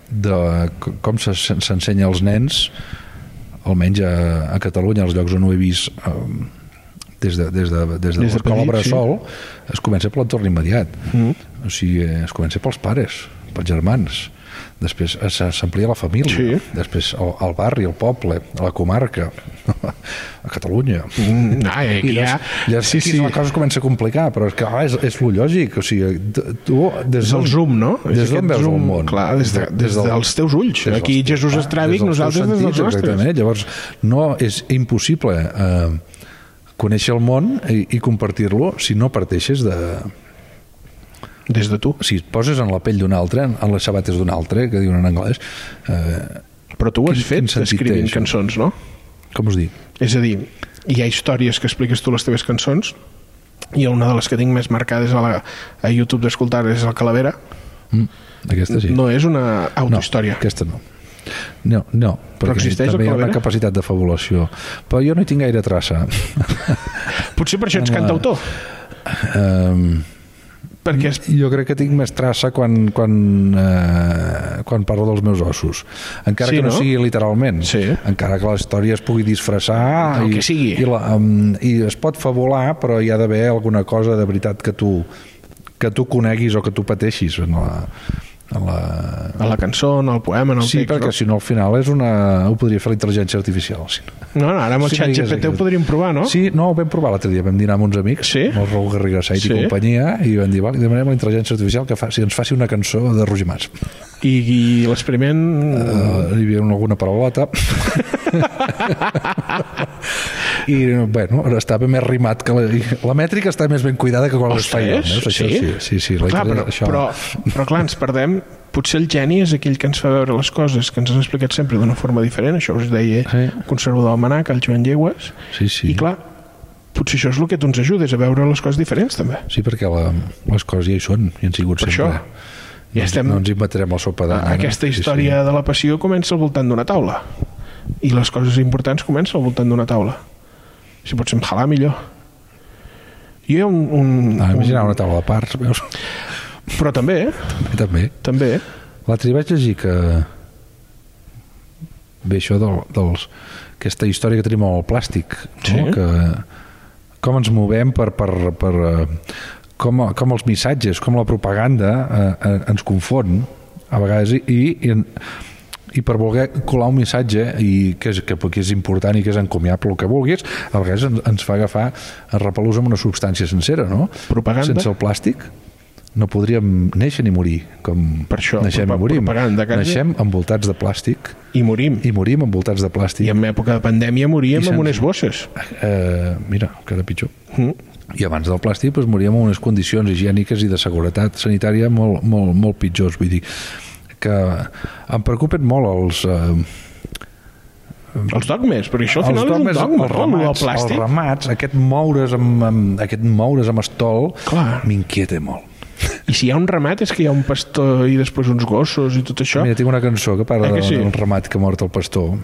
Speaker 4: de c- com se- s'ensenya als nens almenys a, a Catalunya, als llocs on ho he vist um, des de, des de, des de,
Speaker 2: Des de
Speaker 4: l'escola
Speaker 2: petit, sí.
Speaker 4: Bressol, es comença per l'entorn immediat. Mm. O sigui, eh, es comença pels pares, pels germans, després eh, se- s'amplia la família,
Speaker 2: Sí.
Speaker 4: després al, al barri, al poble, a la comarca, (laughs) a Catalunya.
Speaker 2: Mm, ah, i aquí
Speaker 4: I
Speaker 2: ja...
Speaker 4: ja, ja sí, sí. la cosa es comença a complicar, però és que ah, és, és lo lògic. O sigui, d- tu, des
Speaker 2: Des del zoom, no? És
Speaker 4: Des
Speaker 2: aquest
Speaker 4: d'on veus
Speaker 2: zoom,
Speaker 4: el món?
Speaker 2: Clar, des, de, des, dels teus ulls.
Speaker 4: dels
Speaker 2: Aquí
Speaker 4: teus-
Speaker 2: Jesús
Speaker 4: ah,
Speaker 2: Estràvic,
Speaker 4: des dels teus
Speaker 2: nosaltres des dels
Speaker 4: sentits,
Speaker 2: nostres.
Speaker 4: Exactament. Llavors, no, és impossible eh, conèixer el món i, i compartir-lo si no parteixes de...
Speaker 2: Des de tu.
Speaker 4: Si et poses en la pell d'un altre, en en les sabates d'un altre, que diuen en anglès, eh,
Speaker 2: Però tu ho has
Speaker 4: Quin- quin
Speaker 2: fet
Speaker 4: sentit té
Speaker 2: escrivint
Speaker 4: això?
Speaker 2: cançons, no?
Speaker 4: com us dic?
Speaker 2: És a dir, hi ha històries que expliques tu les teves cançons i una de les que tinc més marcades a, la, a YouTube d'escoltar és el Calavera.
Speaker 4: Mm, aquesta sí.
Speaker 2: No és una autohistòria.
Speaker 4: No, aquesta no. No, no, perquè
Speaker 2: existeix el
Speaker 4: també hi ha una
Speaker 2: Calavera?
Speaker 4: capacitat de fabulació. Però jo no hi tinc gaire (laughs) traça.
Speaker 2: Potser per això ets
Speaker 4: No, no.
Speaker 2: cantautor,
Speaker 4: um,
Speaker 2: perquè és...
Speaker 4: jo crec que tinc més traça quan, quan, eh, quan parlo dels meus ossos. Encara
Speaker 2: Sí,
Speaker 4: que no,
Speaker 2: no?
Speaker 4: sigui literalment.
Speaker 2: Sí.
Speaker 4: Encara que la història es pugui disfressar
Speaker 2: Del
Speaker 4: i,
Speaker 2: que sigui.
Speaker 4: I, la, um, i es pot fabular, però hi ha d'haver alguna cosa de veritat que tu, que tu coneguis o que tu pateixis en la, en la,
Speaker 2: a la cançó, en el poema, en el
Speaker 4: Sí,
Speaker 2: text...
Speaker 4: perquè si no al final és una... ho podria fer la intel·ligència artificial. Si no.
Speaker 2: No, no, ara amb el
Speaker 4: Sí,
Speaker 2: sí, xat
Speaker 4: digues,
Speaker 2: GPT ho
Speaker 4: digues.
Speaker 2: podríem provar, no?
Speaker 4: Sí, no, ho vam provar l'altre dia, vam dinar amb uns amics,
Speaker 2: Sí?
Speaker 4: amb el Raül Garriga Said
Speaker 2: Sí.
Speaker 4: i companyia, i vam dir, vale, demanem a la intel·ligència artificial que faci, ens faci una cançó de Roger Mas.
Speaker 2: I, i l'experiment...
Speaker 4: Uh, hi havia una- alguna paraulota.
Speaker 2: (laughs)
Speaker 4: I, bueno, estava més rimat que la, la mètrica està més ben cuidada que quan es fa jo.
Speaker 2: Ostres,
Speaker 4: Veus? Això,
Speaker 2: sí?
Speaker 4: sí, sí, sí la
Speaker 2: Clar, però,
Speaker 4: intel·ligència- això.
Speaker 2: però, però clar, ens perdem potser el geni és aquell que ens fa veure les coses que ens han explicat sempre d'una forma diferent això us deia sí.
Speaker 4: Sí.
Speaker 2: el conservador del Manac, el Joan Lleues
Speaker 4: Sí, sí.
Speaker 2: i clar, potser això és el que tu ens ajudes a veure les coses diferents també
Speaker 4: Sí, perquè la, les coses ja hi són, i han sigut
Speaker 2: Per
Speaker 4: sempre.
Speaker 2: això. ja estem,
Speaker 4: No ens inventarem la sopa d'ana.
Speaker 2: aquesta història de la passió comença al voltant d'una taula i les coses importants comencen al voltant d'una taula si pots emhalar millor jo hi ha un, un,
Speaker 4: Ah,
Speaker 2: un...
Speaker 4: imaginar una taula de parts, veus? (laughs)
Speaker 2: però també,
Speaker 4: També.
Speaker 2: també
Speaker 4: L'altre dia vaig llegir que... Bé, això del, dels... Aquesta història que tenim amb el plàstic, no?
Speaker 2: Sí.
Speaker 4: que com ens movem per... per, per eh, com, com els missatges, com la propaganda eh, eh, ens confon a vegades i, i, i, en- i per voler colar un missatge i que és, que, que és important i que és encomiable el que vulguis, a vegades ens, ens fa agafar es repelús amb una substància sencera no?
Speaker 2: Propaganda.
Speaker 4: sense el plàstic no podríem néixer ni morir com
Speaker 2: Per això,
Speaker 4: naixem i
Speaker 2: propa-
Speaker 4: morim
Speaker 2: propaganda, quasi.
Speaker 4: naixem envoltats de plàstic
Speaker 2: i morim
Speaker 4: i morim envoltats de
Speaker 2: I
Speaker 4: plàstic
Speaker 2: en època de pandèmia moríem
Speaker 4: I
Speaker 2: amb
Speaker 4: sense-
Speaker 2: unes bosses.
Speaker 4: eh, mira, encara pitjor
Speaker 2: Mm.
Speaker 4: i abans del plàstic doncs, moríem en unes condicions higièniques i de seguretat sanitària molt, molt, molt pitjors vull dir que em preocupen molt els, eh,
Speaker 2: Els dogmes, perquè això al
Speaker 4: els
Speaker 2: final
Speaker 4: dogmes,
Speaker 2: és un dogma,
Speaker 4: els,
Speaker 2: no? Lo del
Speaker 4: ramats, els
Speaker 2: plàstic.
Speaker 4: ramats, aquest moure's amb, amb, aquest moure's amb estol
Speaker 2: Clar.
Speaker 4: m'inquieta molt.
Speaker 2: I si hi ha un ramat és que hi ha un pastor i després uns gossos i tot això.
Speaker 4: Mira, tinc una cançó que parla
Speaker 2: Eh que
Speaker 4: d'un
Speaker 2: sí?
Speaker 4: sí? ramat que ha mort el pastor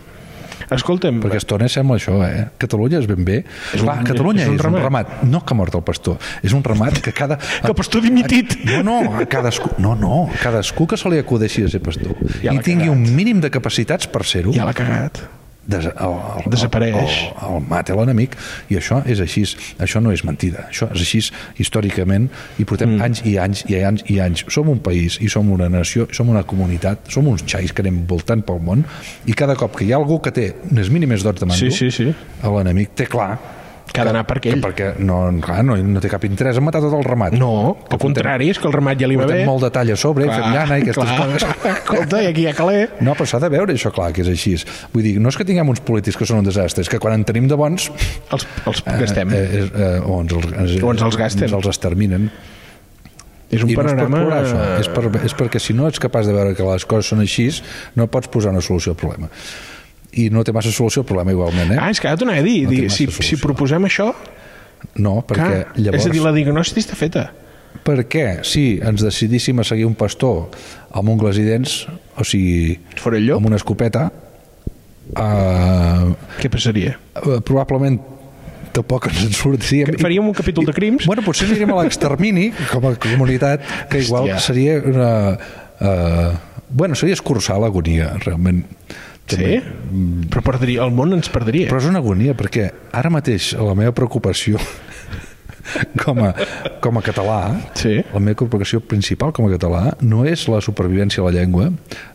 Speaker 2: Escolta'm,
Speaker 4: Perquè estona sembla això, eh? Catalunya és ben bé. És Clar,
Speaker 2: un-
Speaker 4: Catalunya és
Speaker 2: és un
Speaker 4: un,
Speaker 2: ramat.
Speaker 4: ramat. No que ha mort el pastor. És un ramat que cada...
Speaker 2: (laughs) que el pastor dimitit.
Speaker 4: No, no, a cadascú, no, no, cadascú que se li acudeixi de ser pastor
Speaker 2: Ja
Speaker 4: ja
Speaker 2: l'ha
Speaker 4: i tingui
Speaker 2: cagat.
Speaker 4: un mínim de capacitats per ser-ho
Speaker 2: Ja l'ha cagat.
Speaker 4: des, el, el,
Speaker 2: Desapareix.
Speaker 4: El, el, el mata l'enemic i això és així, això no és mentida, això és així històricament i portem mm. anys i anys i anys i anys. Som un país i som una nació, som una comunitat, som uns xais que anem voltant pel món i cada cop que hi ha algú que té unes mínimes d'hort de mando,
Speaker 2: Sí, sí, sí.
Speaker 4: l'enemic té clar
Speaker 2: Que ha d'anar per
Speaker 4: que
Speaker 2: aquell.
Speaker 4: perquè no, clar, no, no té cap interès en matar tot el ramat.
Speaker 2: No,
Speaker 4: Que
Speaker 2: al contrari, és que el ramat ja li va
Speaker 4: Portem, portem
Speaker 2: bé.
Speaker 4: molt de tall a sobre, clar, fem llana i aquestes
Speaker 2: clar.
Speaker 4: coses.
Speaker 2: (laughs) Escolta, i aquí hi ha caler.
Speaker 4: No, però s'ha de veure això, clar, que és així. Vull dir, no és que tinguem uns polítics que són un desastre, és que quan en tenim de bons...
Speaker 2: Els, els gastem.
Speaker 4: Eh, eh, eh, o, ens els, ens,
Speaker 2: O ens els gasten.
Speaker 4: Ens els exterminen.
Speaker 2: és
Speaker 4: I no
Speaker 2: un
Speaker 4: és per
Speaker 2: panorama...
Speaker 4: plorar, això. És, per, és perquè si no ets capaç de veure que les coses són així, no pots posar una solució al problema. I no té massa solució al problema igualment, eh?
Speaker 2: Ah, és que ara t'ho anava a dir.
Speaker 4: No té
Speaker 2: dir
Speaker 4: massa
Speaker 2: si, si
Speaker 4: solució.
Speaker 2: proposem això,
Speaker 4: no, perquè
Speaker 2: clar,
Speaker 4: llavors...
Speaker 2: és a dir, la diagnosi està feta.
Speaker 4: Perquè si ens decidíssim a seguir un pastor amb ungles i dents, o sigui,
Speaker 2: Fora el llop.
Speaker 4: amb una escopeta, eh,
Speaker 2: Què passaria?
Speaker 4: eh, probablement tampoc ens en sortiríem.
Speaker 2: Que faríem un capítol de crims?
Speaker 4: Bueno, potser aniríem a l'extermini com a comunitat, que igual
Speaker 2: Hòstia.
Speaker 4: seria una... Eh, Bueno, seria escurçar l'agonia, realment.
Speaker 2: Sí? Però perdria, el món ens perdria.
Speaker 4: Però és una agonia, perquè ara mateix la meva preocupació (laughs) com a, com a català,
Speaker 2: Sí.
Speaker 4: la meva preocupació principal com a català no és la supervivència de la llengua,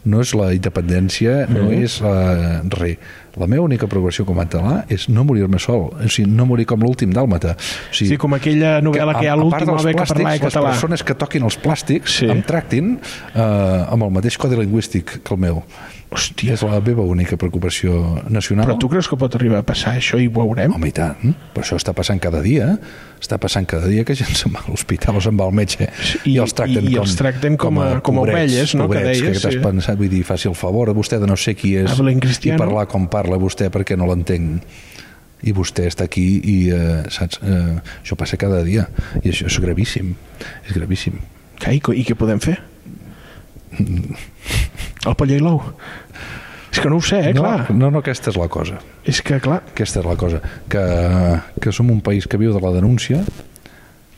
Speaker 4: no és la independència, no
Speaker 2: Mm-hmm.
Speaker 4: és uh, res. La meva única preocupació com a català és no morir-me sol, o sigui, no morir com l'últim dàlmata. O sigui,
Speaker 2: Sí, com aquella novel·la que hi ha a
Speaker 4: part
Speaker 2: l'última
Speaker 4: dels
Speaker 2: vegada que
Speaker 4: plàstics,
Speaker 2: parlava català.
Speaker 4: Les persones que toquin els plàstics sí.
Speaker 2: Sí.
Speaker 4: em tractin eh, amb el mateix codi lingüístic que el meu.
Speaker 2: Hòstia.
Speaker 4: És la meva única preocupació nacional.
Speaker 2: Però tu creus que pot arribar a passar això i ho veurem?
Speaker 4: Home, i tant. Però això està passant cada dia. eh? Està passant cada dia que gent se'n va a l'hospital o se'n va al metge
Speaker 2: I-
Speaker 4: i, els tracten,
Speaker 2: i- i
Speaker 4: com,
Speaker 2: els tracten com a- com a ovelles, no? Que
Speaker 4: Pobrets, que,
Speaker 2: deies,
Speaker 4: que t'has
Speaker 2: sí.
Speaker 4: pensat, vull dir, faci el favor a vostè de no sé qui és
Speaker 2: Hablen
Speaker 4: i
Speaker 2: cristiano.
Speaker 4: parlar com parla vostè perquè no l'entenc. I vostè està aquí i, eh, saps, eh, això passa cada dia. I això és gravíssim. És gravíssim.
Speaker 2: Caico, i què podem fer? El paller i l'ou? És que no ho sé, eh,
Speaker 4: no,
Speaker 2: clar.
Speaker 4: no, no, aquesta és la cosa.
Speaker 2: És que, clar,
Speaker 4: Aquesta és la cosa. Que, que som un país que viu de la denúncia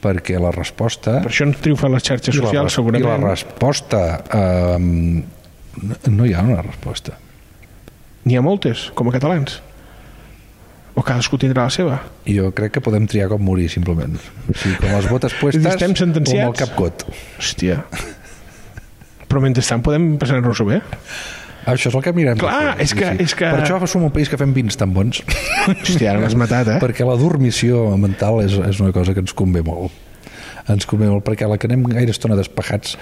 Speaker 4: perquè la resposta...
Speaker 2: per això ens triomfen les xarxes
Speaker 4: I la
Speaker 2: socials,
Speaker 4: res-
Speaker 2: segurament.
Speaker 4: I la resposta... Eh, no- no hi ha una resposta.
Speaker 2: N'hi ha moltes, com a catalans. O cadascú tindrà la seva.
Speaker 4: I Jo crec que podem triar com morir, simplement. O sigui, com les
Speaker 2: (laughs)
Speaker 4: botes puestes o
Speaker 2: Estem
Speaker 4: amb el
Speaker 2: sentenciats?
Speaker 4: capcot.
Speaker 2: Hòstia. Però mentrestant podem passar-nos-ho bé.
Speaker 4: Això és el que mirem. de fer,
Speaker 2: Clar, és
Speaker 4: sí,
Speaker 2: que-
Speaker 4: sí.
Speaker 2: és que-
Speaker 4: Per això som un país que fem vins tan bons.
Speaker 2: Hòstia, ara m'has matat, eh?
Speaker 4: Perquè la dormició mental és, és una cosa que ens convé molt. Ens convé molt, perquè la que anem gaire estona despejats...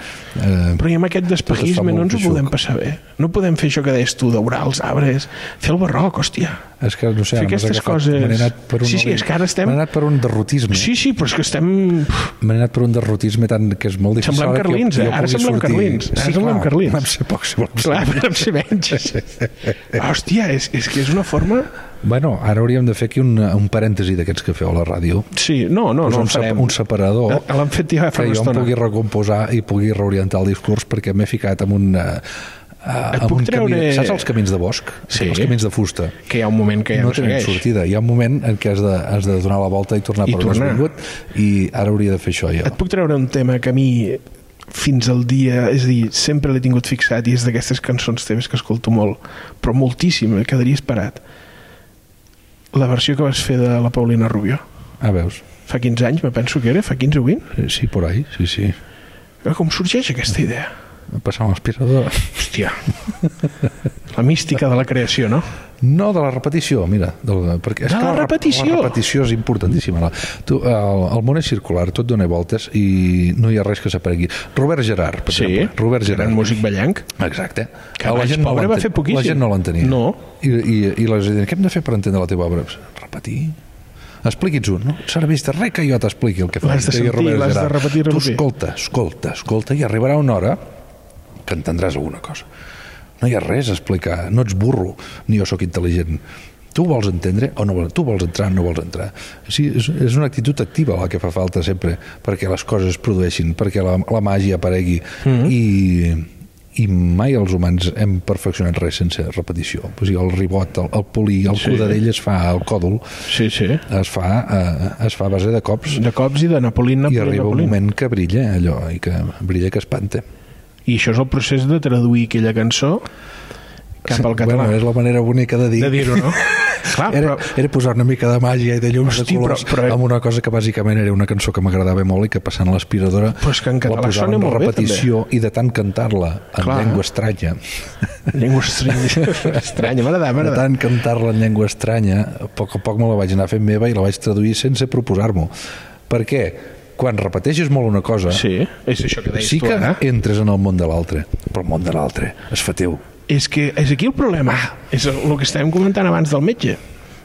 Speaker 4: Eh,
Speaker 2: Però i amb aquest despeguisme
Speaker 4: Tot es fa
Speaker 2: no ens ho
Speaker 4: molt
Speaker 2: podem
Speaker 4: xuc.
Speaker 2: passar bé. No podem fer això que deies tu, daurar els arbres, fer el barroc, hòstia.
Speaker 4: és que, no sé,
Speaker 2: Fer
Speaker 4: ara m'has
Speaker 2: aquestes
Speaker 4: agafat.
Speaker 2: coses.
Speaker 4: Me n'he anat per un
Speaker 2: Sí, sí,
Speaker 4: oli-
Speaker 2: és que ara estem-
Speaker 4: Me n'he anat per un derrotisme.
Speaker 2: Sí, sí, però és que estem...
Speaker 4: (laughs) Me n'he anat per un derrotisme tan que és molt difícil. ara
Speaker 2: Semblem
Speaker 4: que
Speaker 2: carlins,
Speaker 4: que
Speaker 2: eh? Ara
Speaker 4: pugui
Speaker 2: semblem
Speaker 4: sortir.
Speaker 2: carlins. Ara
Speaker 4: Sí,
Speaker 2: semblem
Speaker 4: clar,
Speaker 2: carlins.
Speaker 4: Vam ser pocs, si vols.
Speaker 2: Clar, però amb ser menys. Hòstia, és, és que és una forma...
Speaker 4: Bueno, ara hauríem de fer aquí un, un parèntesi d'aquests que feu a la ràdio.
Speaker 2: Sí, no, no,
Speaker 4: Pues
Speaker 2: no
Speaker 4: un,
Speaker 2: el
Speaker 4: sep-
Speaker 2: farem.
Speaker 4: un separador
Speaker 2: Eh, L'han fet ja fa
Speaker 4: que
Speaker 2: una
Speaker 4: jo em
Speaker 2: estona.
Speaker 4: pugui recomposar i pugui reorientar el discurs perquè m'he ficat en un... eh, eh,
Speaker 2: Et
Speaker 4: en
Speaker 2: puc
Speaker 4: un camí,
Speaker 2: treure-
Speaker 4: Saps els camins de bosc?
Speaker 2: Sí.
Speaker 4: Els camins de fusta.
Speaker 2: Que hi ha un moment que ja
Speaker 4: no
Speaker 2: no,
Speaker 4: tenen
Speaker 2: segueix.
Speaker 4: sortida. Hi ha un moment en què has de, has de donar la volta i tornar
Speaker 2: I
Speaker 4: per on has
Speaker 2: tornar.
Speaker 4: vingut i ara hauria de fer això jo.
Speaker 2: Et puc treure un tema que a mi fins al dia, és a dir, sempre l'he tingut fixat i és d'aquestes cançons teves que escolto molt, però moltíssim, eh, quedaria esperat. La versió que vas fer de la Paulina Rubio,
Speaker 4: Ah, veus?
Speaker 2: fa 15 anys, me penso que era, fa 15 o 20?
Speaker 4: Sí, Sí, por ahí, sí, sí.
Speaker 2: Eh, Com sorgeix aquesta idea?
Speaker 4: Passant l'aspirador.
Speaker 2: Hòstia. La mística de la creació, no?
Speaker 4: No, de la repetició, mira. De la, perquè és
Speaker 2: De
Speaker 4: que
Speaker 2: la
Speaker 4: rep-
Speaker 2: repetició?
Speaker 4: La repetició és importantíssima. La, tu, el, el món és circular, tot dona voltes i no hi ha res que s'aparegui. Robert Gerard, per exemple. Robert
Speaker 2: gran
Speaker 4: Gerard.
Speaker 2: músic ballanc.
Speaker 4: Exacte.
Speaker 2: Que abans, pobre, va
Speaker 4: l'enten-
Speaker 2: fer poquíssim.
Speaker 4: La gent no l'entenia.
Speaker 2: No.
Speaker 4: I, i, i les deien, què hem de fer per entendre la teva obra? Repetir. Expliqui'ns un, no? Serveix de res que jo t'expliqui el que fa.
Speaker 2: L'has de
Speaker 4: Deia
Speaker 2: sentir,
Speaker 4: Robert
Speaker 2: l'has de
Speaker 4: Gerard.
Speaker 2: repetir, repetir.
Speaker 4: Tu escolta, escolta, escolta, i arribarà una hora que entendràs alguna cosa. No hi ha res a explicar, no ets burro, ni jo sóc intel·ligent. Tu vols entendre o no vols, tu vols entrar o no vols entrar. Sí, és, és una actitud activa la que fa falta sempre perquè les coses es produeixin, perquè la, la màgia aparegui
Speaker 2: Mhm.
Speaker 4: mm -hmm. i, i mai els humans hem perfeccionat res sense repetició. O sigui, el ribot, el, el polir, el sí. codadell es fa al còdol,
Speaker 2: Sí, sí.
Speaker 4: es fa, eh, es fa a base de cops
Speaker 2: De cops i de Napolin,
Speaker 4: i
Speaker 2: Napolin,
Speaker 4: arriba un
Speaker 2: Napolin.
Speaker 4: moment que brilla allò i que brilla que espanta.
Speaker 2: I això és el procés de traduir aquella cançó cap al català.
Speaker 4: Bueno, és la manera bonica de dir.
Speaker 2: de dir-ho,
Speaker 4: (laughs)
Speaker 2: no? Clar,
Speaker 4: Era,
Speaker 2: però,
Speaker 4: era posar una mica de màgia i de llums
Speaker 2: Hosti,
Speaker 4: de colors
Speaker 2: però- però-
Speaker 4: amb una cosa que bàsicament era una cançó que m'agradava molt i que passant l'aspiradora
Speaker 2: Però és que en català
Speaker 4: la posava
Speaker 2: sona
Speaker 4: en
Speaker 2: molt bé,
Speaker 4: repetició i de tant cantar-la en
Speaker 2: Clar.
Speaker 4: llengua estranya
Speaker 2: llengua estranya, estranya m'agrada,
Speaker 4: de
Speaker 2: m'agrada.
Speaker 4: tant cantar-la en llengua estranya a poc a poc me la vaig anar fent meva i la vaig traduir sense proposar-m'ho perquè quan repeteixes molt una cosa
Speaker 2: Sí, és això que deies
Speaker 4: sí
Speaker 2: tu
Speaker 4: que
Speaker 2: ara.
Speaker 4: entres en el món de l'altre però el món de l'altre es fa teu
Speaker 2: És que és aquí el problema.
Speaker 4: Ah.
Speaker 2: És el, el que estàvem comentant abans del metge,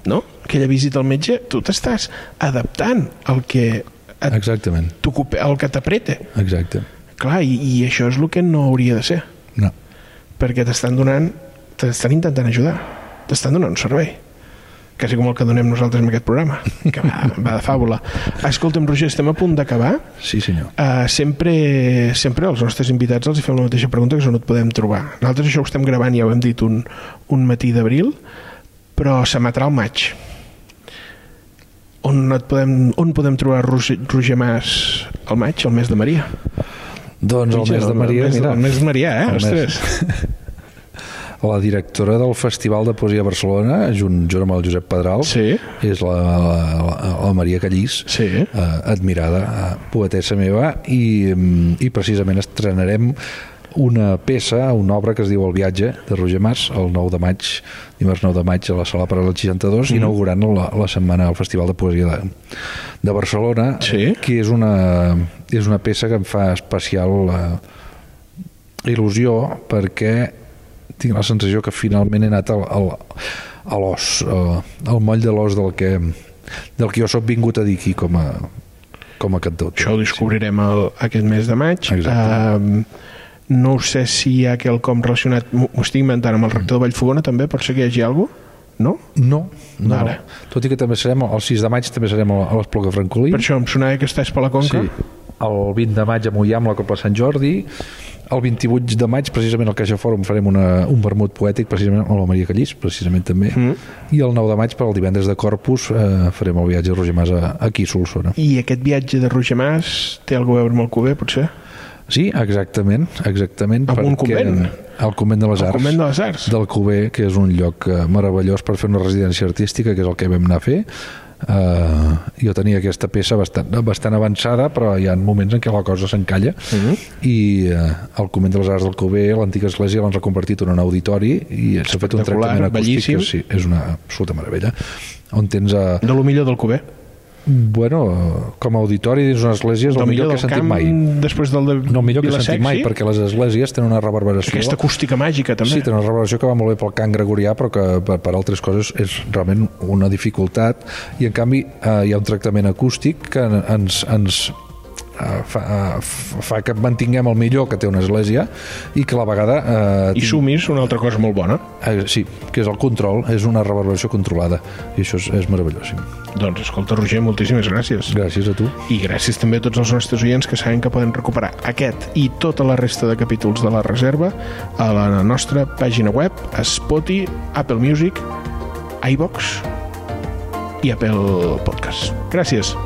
Speaker 2: no? Aquella visita al metge, tu t'estàs adaptant al que et,
Speaker 4: exactament,
Speaker 2: t'ocupa- al que t'apreta.
Speaker 4: exacte
Speaker 2: Clar, i, i això és el que no hauria de ser,
Speaker 4: no.
Speaker 2: perquè t'estan donant, t'estan intentant ajudar, t'estan donant un servei quasi com el que donem nosaltres en aquest programa que va, va de fàbula escolta'm Roger, estem a punt d'acabar
Speaker 4: sí senyor
Speaker 2: Uh, sempre, sempre als nostres invitats els hi fem la mateixa pregunta que és on et podem trobar. Nosaltres això ho estem gravant, ja ho hem dit, un, un matí d'abril, però s'emetrà al maig. On, et podem, on podem trobar Roger, Roger Mas al maig, al mes de Maria?
Speaker 4: Doncs el
Speaker 2: Mitja,
Speaker 4: mes de
Speaker 2: no,
Speaker 4: Maria,
Speaker 2: el mes,
Speaker 4: mira,
Speaker 2: El mes de Maria, eh?
Speaker 4: El mes.
Speaker 2: Ostres.
Speaker 4: la directora del Festival de Poesia a Barcelona, junt, junt amb el Josep Pedral,
Speaker 2: Sí.
Speaker 4: és la, la, la, la Maria Callís,
Speaker 2: Sí.
Speaker 4: eh, admirada eh, poetessa meva, i, mm, i precisament estrenarem una peça, una obra que es diu El viatge, de Roger Mas, el 9 de maig, dimarts 9 de maig, a la Sala Paral 62, mm
Speaker 2: Mm-hmm.
Speaker 4: -hmm. inaugurant la, la setmana al Festival de Poesia de, de Barcelona,
Speaker 2: Sí.
Speaker 4: que és una, és una peça que em fa especial... Eh, il·lusió perquè tinc la sensació que finalment he anat al, al, a l'os, al, al moll de l'os del que, del que jo soc vingut a dir aquí com a, com a cantautor.
Speaker 2: Això ho descobrirem el, aquest mes de maig.
Speaker 4: Exacte.
Speaker 2: Eh, no sé si hi ha quelcom relacionat... M'ho m'ho estic inventant amb el rector de Vallfogona, també, per ser que hi hagi alguna cosa? No?
Speaker 4: No, no, no.
Speaker 2: Ara.
Speaker 4: Tot i que també serem, el 6 de maig també serem a la- a l'Espluga Francolí.
Speaker 2: Per això em sonava que estàs per la Conca.
Speaker 4: Sí, el 20 de maig a Mollà amb la Copla Sant Jordi, el 28 de maig precisament al Caixa Fòrum farem una, un vermut poètic precisament amb la Maria Callís, precisament també, mm. i el 9 de maig per al divendres de Corpus eh, farem el viatge a Roger Mas a, aquí a Solsona.
Speaker 2: I aquest viatge de Roger Mas té alguna cosa a veure amb el Cuber, potser?
Speaker 4: Sí, exactament, exactament.
Speaker 2: Amb un
Speaker 4: perquè
Speaker 2: convent?
Speaker 4: El convent de les
Speaker 2: El
Speaker 4: Arts.
Speaker 2: Convent de les Arts.
Speaker 4: Del Cuber, que és un lloc eh, meravellós per fer una residència artística, que és el que vam anar a fer. Uh, jo tenia aquesta peça bastant, bastant avançada, però hi ha moments en què la cosa s'encalla. Uh
Speaker 2: Mhm.
Speaker 4: -huh. I uh, el Convent de les Arts del Cuber, l'antiga església, l'han reconvertit en un auditori i s'ha fet un
Speaker 2: Espectacular,
Speaker 4: tractament acústic.
Speaker 2: bellíssim.
Speaker 4: que Sí, és una absoluta meravella. On tens... Uh,
Speaker 2: De lo millor del Cuber.
Speaker 4: bueno, com a auditori dins una església és el
Speaker 2: Del
Speaker 4: millor que he
Speaker 2: del
Speaker 4: sentit
Speaker 2: camp,
Speaker 4: mai.
Speaker 2: després del de
Speaker 4: No, el millor que he
Speaker 2: Vilasec,
Speaker 4: sentit mai,
Speaker 2: sí?
Speaker 4: perquè les esglésies tenen una reverberació...
Speaker 2: Aquesta acústica màgica, també.
Speaker 4: Sí, té una reverberació que va molt bé pel cant gregorià, però que per, per altres coses és realment una dificultat, i en canvi eh, hi ha un tractament acústic que en- ens, ens eh, fa, eh, f- fa que mantinguem el millor que té una església i que a la vegada... Eh,
Speaker 2: I
Speaker 4: tinc-
Speaker 2: sumis una altra cosa molt bona.
Speaker 4: eh, sí, que és el control, és una reverberació controlada, i això és, és meravellós. Sí.
Speaker 2: Doncs escolta, Roger, moltíssimes gràcies.
Speaker 4: Gràcies a tu.
Speaker 2: I gràcies també a tots els nostres oients que saben que poden recuperar aquest i tota la resta de capítols de la reserva a la nostra pàgina web, a Spotify, Apple Music, iVox i Apple Podcast. Gràcies.